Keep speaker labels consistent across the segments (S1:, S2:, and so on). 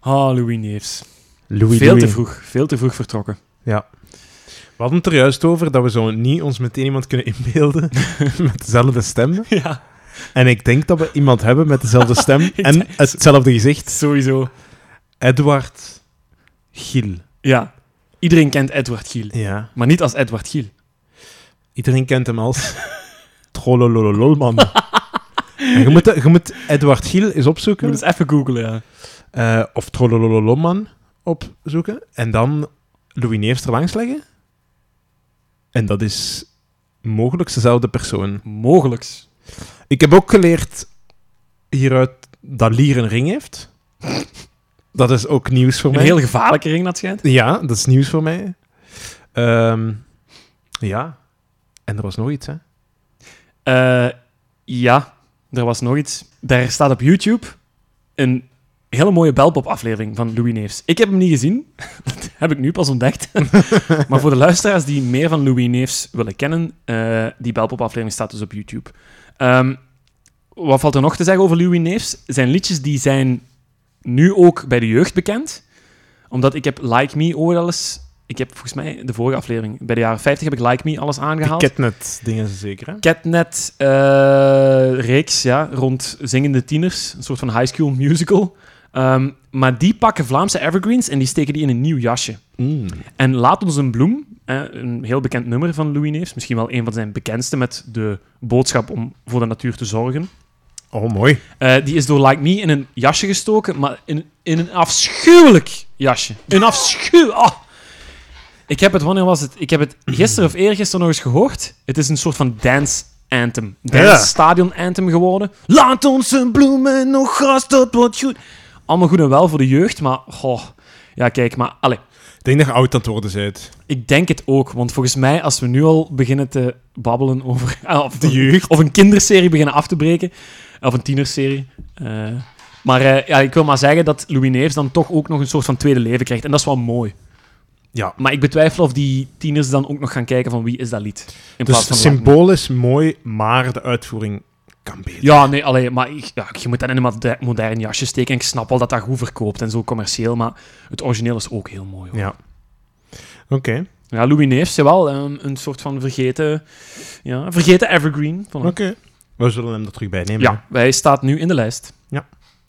S1: Ah, Louis Neefs.
S2: Louis
S1: veel
S2: Louis.
S1: te vroeg. Veel te vroeg vertrokken.
S2: We hadden het er juist over dat we zo niet ons meteen iemand kunnen inbeelden met dezelfde stem.
S1: ja,
S2: En ik denk dat we iemand hebben met dezelfde stem en hetzelfde gezicht.
S1: sowieso.
S2: Edward Giel.
S1: Ja. Iedereen kent Edward Giel.
S2: Ja.
S1: Maar niet als Edward Giel.
S2: Iedereen kent hem als Trollolololman. En je, moet, je moet Edward Giel eens
S1: Ik moet
S2: opzoeken.
S1: eens even googlen, ja.
S2: eh, of Trollolololman opzoeken. En dan Louis Neefs erlangs leggen. En dat is mogelijk dezelfde persoon.
S1: Mogelijks.
S2: Ik heb ook geleerd hieruit dat Lier een ring heeft. Dat is ook nieuws voor
S1: Een
S2: mij.
S1: heel gevaarlijke ring, dat schijnt.
S2: Ja, dat is nieuws voor mij. Ehm, ja. En er was nog iets, hè?
S1: Eh, ja, er was nog iets. Daar staat op YouTube een hele mooie belpop-aflevering van Louis Neefs. Ik heb hem niet gezien, dat heb ik nu pas ontdekt. maar voor de luisteraars die meer van Louis Neefs willen kennen, eh, die belpop-aflevering staat dus op YouTube. Ehm, wat valt er nog te zeggen over Louis Neefs? Zijn liedjes die zijn nu ook bij de jeugd bekend. Omdat ik heb Like Me ooit alles... Ik heb volgens mij de vorige aflevering, bij de jaren 50 heb ik Like Me alles
S2: De
S1: aangehaald.
S2: Ketnet-dingen zeker, hè?
S1: Catnet-reeks, eh, ja, rond zingende tieners. Een soort van high school musical. Ehm, maar die pakken Vlaamse evergreens en die steken die in een nieuw jasje. En Laat ons een bloem, hè, een heel bekend nummer van Louis Neefs. Misschien wel een van zijn bekendste met de boodschap om voor de natuur te zorgen.
S2: Oh, mooi.
S1: Eh, die is door Like Me in een jasje gestoken, maar in, in een afschuwelijk jasje. Een afschuw... ah. Ik heb het, wanneer was het? Ik heb het gisteren of eergisteren nog eens gehoord. Het is een soort van dance anthem. Dance
S2: Ja.
S1: stadion anthem geworden. Laat ons een bloemen nog gras, dat wordt goed. Allemaal goed en wel voor de jeugd, maar... Goh, ja, kijk, maar... Allez,
S2: Ik denk dat je oud aan het worden bent.
S1: ik denk het ook, want volgens mij, als we nu al beginnen te babbelen over. ah, of,
S2: De jeugd.
S1: Of een kinderserie beginnen af te breken, of een tienerserie. eh, maar eh, ja, ik wil maar zeggen dat Louis Neefs dan toch ook nog een soort van tweede leven krijgt. En dat is wel mooi.
S2: Ja.
S1: Maar ik betwijfel of die tieners dan ook nog gaan kijken van wie is dat lied. In
S2: Dus
S1: plaats
S2: het
S1: van
S2: symbool is mooi, maar de uitvoering kan beter.
S1: Ja, nee, allee, maar ik- ja, je moet dat in een mode- modern jasje steken. En ik snap wel dat dat goed verkoopt en zo commercieel. Maar het origineel is ook heel mooi. Hoor.
S2: Ja. Oké.
S1: Ja, Louis Neefs, jawel. ehm, Een soort van vergeten, ja, vergeten evergreen. Voilà.
S2: Oké. We zullen hem er terug bij nemen. hè?
S1: Ja, hij staat nu in de lijst.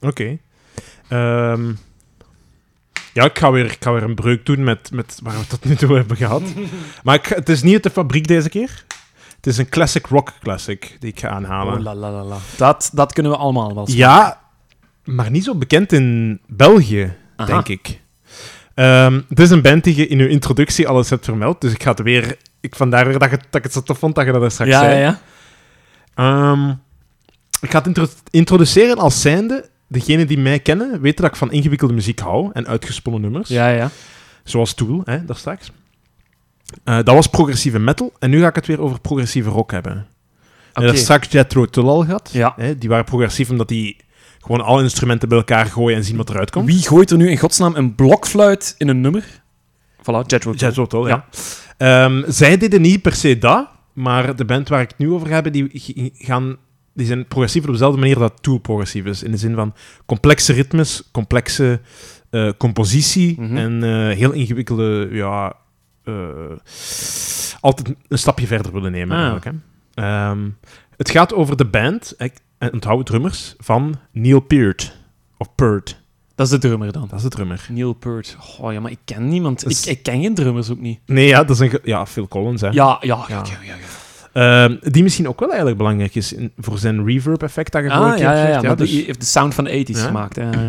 S2: Oké. Ehm, ja, ik ga, weer, ik ga weer een breuk doen met, met waar we tot nu toe hebben gehad. maar ik ga- het is niet uit de fabriek deze keer. Het is een classic rock classic die ik ga aanhalen.
S1: Oh, la, la, la, la. Dat, dat kunnen we allemaal wel.
S2: ja, maar niet zo bekend in België,
S1: Aha.
S2: denk ik. Ehm, het is een band die je in je introductie alles hebt vermeld. Dus ik ga het weer... Ik, vandaar weer dat, je, dat ik het zo tof vond dat je dat er straks
S1: Ja,
S2: zei.
S1: ja, ja.
S2: Ehm, ik ga het intro- introduceren als zijnde. Degenen die mij kennen weten dat ik van ingewikkelde muziek hou en uitgesponnen nummers.
S1: ja, ja.
S2: Zoals Tool, hè, daar straks. Eh, dat was progressieve metal. En nu ga ik het weer over progressieve rock hebben.
S1: Oké.
S2: En dat straks Jethro Tull al gehad.
S1: Ja.
S2: Hè, die waren progressief omdat die gewoon alle instrumenten bij elkaar gooien en zien wat eruit komt.
S1: Wie gooit er nu in godsnaam een blokfluit in een nummer? Voilà, Jet Road.
S2: Jethro Tull, ja. Ehm, zij deden niet per se dat, maar de band waar ik het nu over heb, die, g- gaan, die zijn progressief op dezelfde manier dat Tool progressief is. In de zin van complexe ritmes, complexe eh, compositie
S1: Mhm.
S2: en eh, heel ingewikkelde, ja, eh, altijd een stapje verder willen nemen.
S1: Ah.
S2: Eigenlijk, hè. Ehm, het gaat over de band, ik en onthoud drummers, van Neil Peart. Of Peart,
S1: Dat is de drummer dan.
S2: dat is de drummer.
S1: Neil Peart. Oh ja, maar ik ken niemand.
S2: Dus-
S1: Ik, ik ken geen drummers ook niet.
S2: Nee, ja, dat is een... ge- Ja, Phil Collins, hè.
S1: Ja, ja, ja.
S2: Ja.
S1: ja, ja, ja.
S2: Ehm, die misschien ook wel eigenlijk belangrijk is in- voor zijn reverb-effect dat je vorige
S1: Ah,
S2: keer
S1: ja, ja,
S2: hebt
S1: ja.
S2: gezegd,
S1: Maar
S2: dus-
S1: die heeft de sound van de 80s
S2: Ja.
S1: gemaakt. Ja, Mm. ja,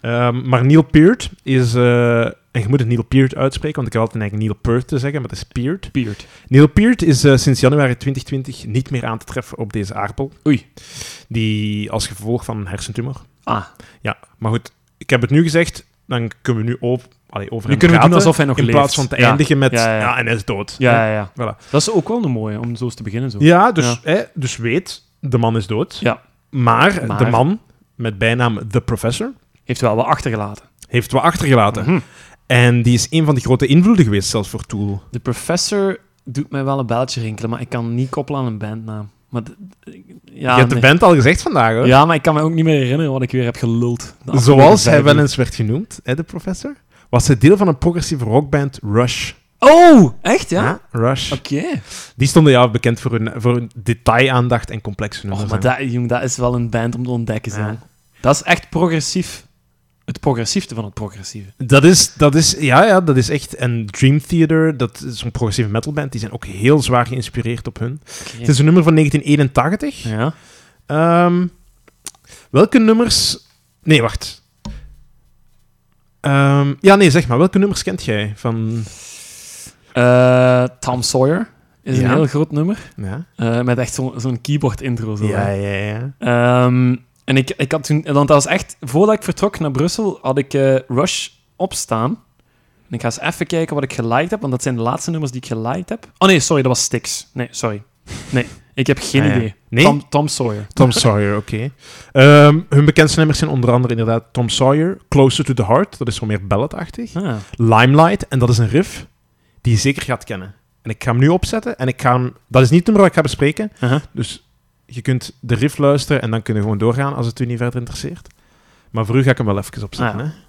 S1: ja.
S2: Ehm, maar Neil Peart is... eh, en je moet het Neil Peart uitspreken, want ik had altijd eigenlijk Neil Peart te zeggen, maar het is Peart.
S1: Peart.
S2: Neil Peart is eh, sinds januari 2020 niet meer aan te treffen op deze aardbol.
S1: Oei.
S2: Die als gevolg van een hersentumor.
S1: Ah,
S2: Ja, maar goed, ik heb het nu gezegd, dan kunnen we nu op, allee, over
S1: nu kunnen we
S2: hem
S1: doen
S2: praten,
S1: alsof hij nog
S2: in
S1: leeft.
S2: plaats van te
S1: Ja.
S2: eindigen met...
S1: Ja,
S2: Ja,
S1: ja, ja.
S2: en hij is dood.
S1: Ja, ja, ja.
S2: Voilà.
S1: Dat is ook wel een mooie, om zo eens te beginnen. Zo.
S2: Ja, dus, Hè, dus weet, de man is dood.
S1: Ja.
S2: Maar,
S1: Maar-
S2: de man, met bijnaam The Professor,
S1: Heeft wel wat achtergelaten.
S2: heeft wat achtergelaten.
S1: Mhm.
S2: En die is een van de grote invloeden geweest, zelfs voor Tool.
S1: De professor doet mij wel een belletje rinkelen, maar ik kan niet koppelen aan een bandnaam. Maar d- d- ja,
S2: je hebt
S1: nee.
S2: de band al gezegd vandaag, hoor.
S1: ja, maar ik kan me ook niet meer herinneren wat ik weer heb geluld. de afgelopen
S2: Zoals hij
S1: vijf
S2: wel
S1: uur.
S2: eens werd genoemd, hè, de professor, was hij deel van een progressieve rockband Rush.
S1: Oh, echt, ja?
S2: Ja, Rush.
S1: Oké.
S2: Die stonden ja bekend voor hun, voor hun detail-aandacht en complexe
S1: Oh,
S2: nummers.
S1: maar dat, jong, dat is wel een band om te ontdekken, zeg.
S2: Ja.
S1: Dat is echt progressief. Het progressiefste van het progressieve.
S2: Dat is, dat is, ja, ja, dat is echt. En Dream Theater, dat is een progressieve metalband, die zijn ook heel zwaar geïnspireerd op hun. Het is een nummer van 1981.
S1: Ja.
S2: Ehm, welke nummers. Nee, wacht. Ehm, ja, nee, zeg maar. Welke nummers kent jij van.
S1: Eh, Tom Sawyer is een
S2: Ja.
S1: heel groot nummer.
S2: Ja,
S1: eh, met echt zo- zo'n keyboard-intro. Zo,
S2: ja,
S1: hè.
S2: ja. ja.
S1: Ehm, en ik, ik had toen, want dat was echt, voordat ik vertrok naar Brussel, had ik eh, Rush opstaan. En ik ga eens even kijken wat ik geliked heb, want dat zijn de laatste nummers die ik geliked heb. Oh nee, sorry, dat was Styx. Nee, sorry. Nee, ik heb geen
S2: Ah, ja.
S1: idee.
S2: Nee?
S1: Tom, Tom Sawyer.
S2: Tom Sawyer, oké. Ehm, hun bekendste nummers zijn onder andere inderdaad Tom Sawyer, Closer to the Heart, dat is zo meer balladachtig.
S1: Ah,
S2: Limelight, en dat is een riff die je zeker gaat kennen. En ik ga hem nu opzetten en ik ga hem... Dat is niet het nummer dat ik ga bespreken,
S1: aha.
S2: dus je kunt de riff luisteren en dan kunnen we gewoon doorgaan als het u niet verder interesseert. Maar voor u ga ik hem wel even opzetten,
S1: Ah,
S2: hè.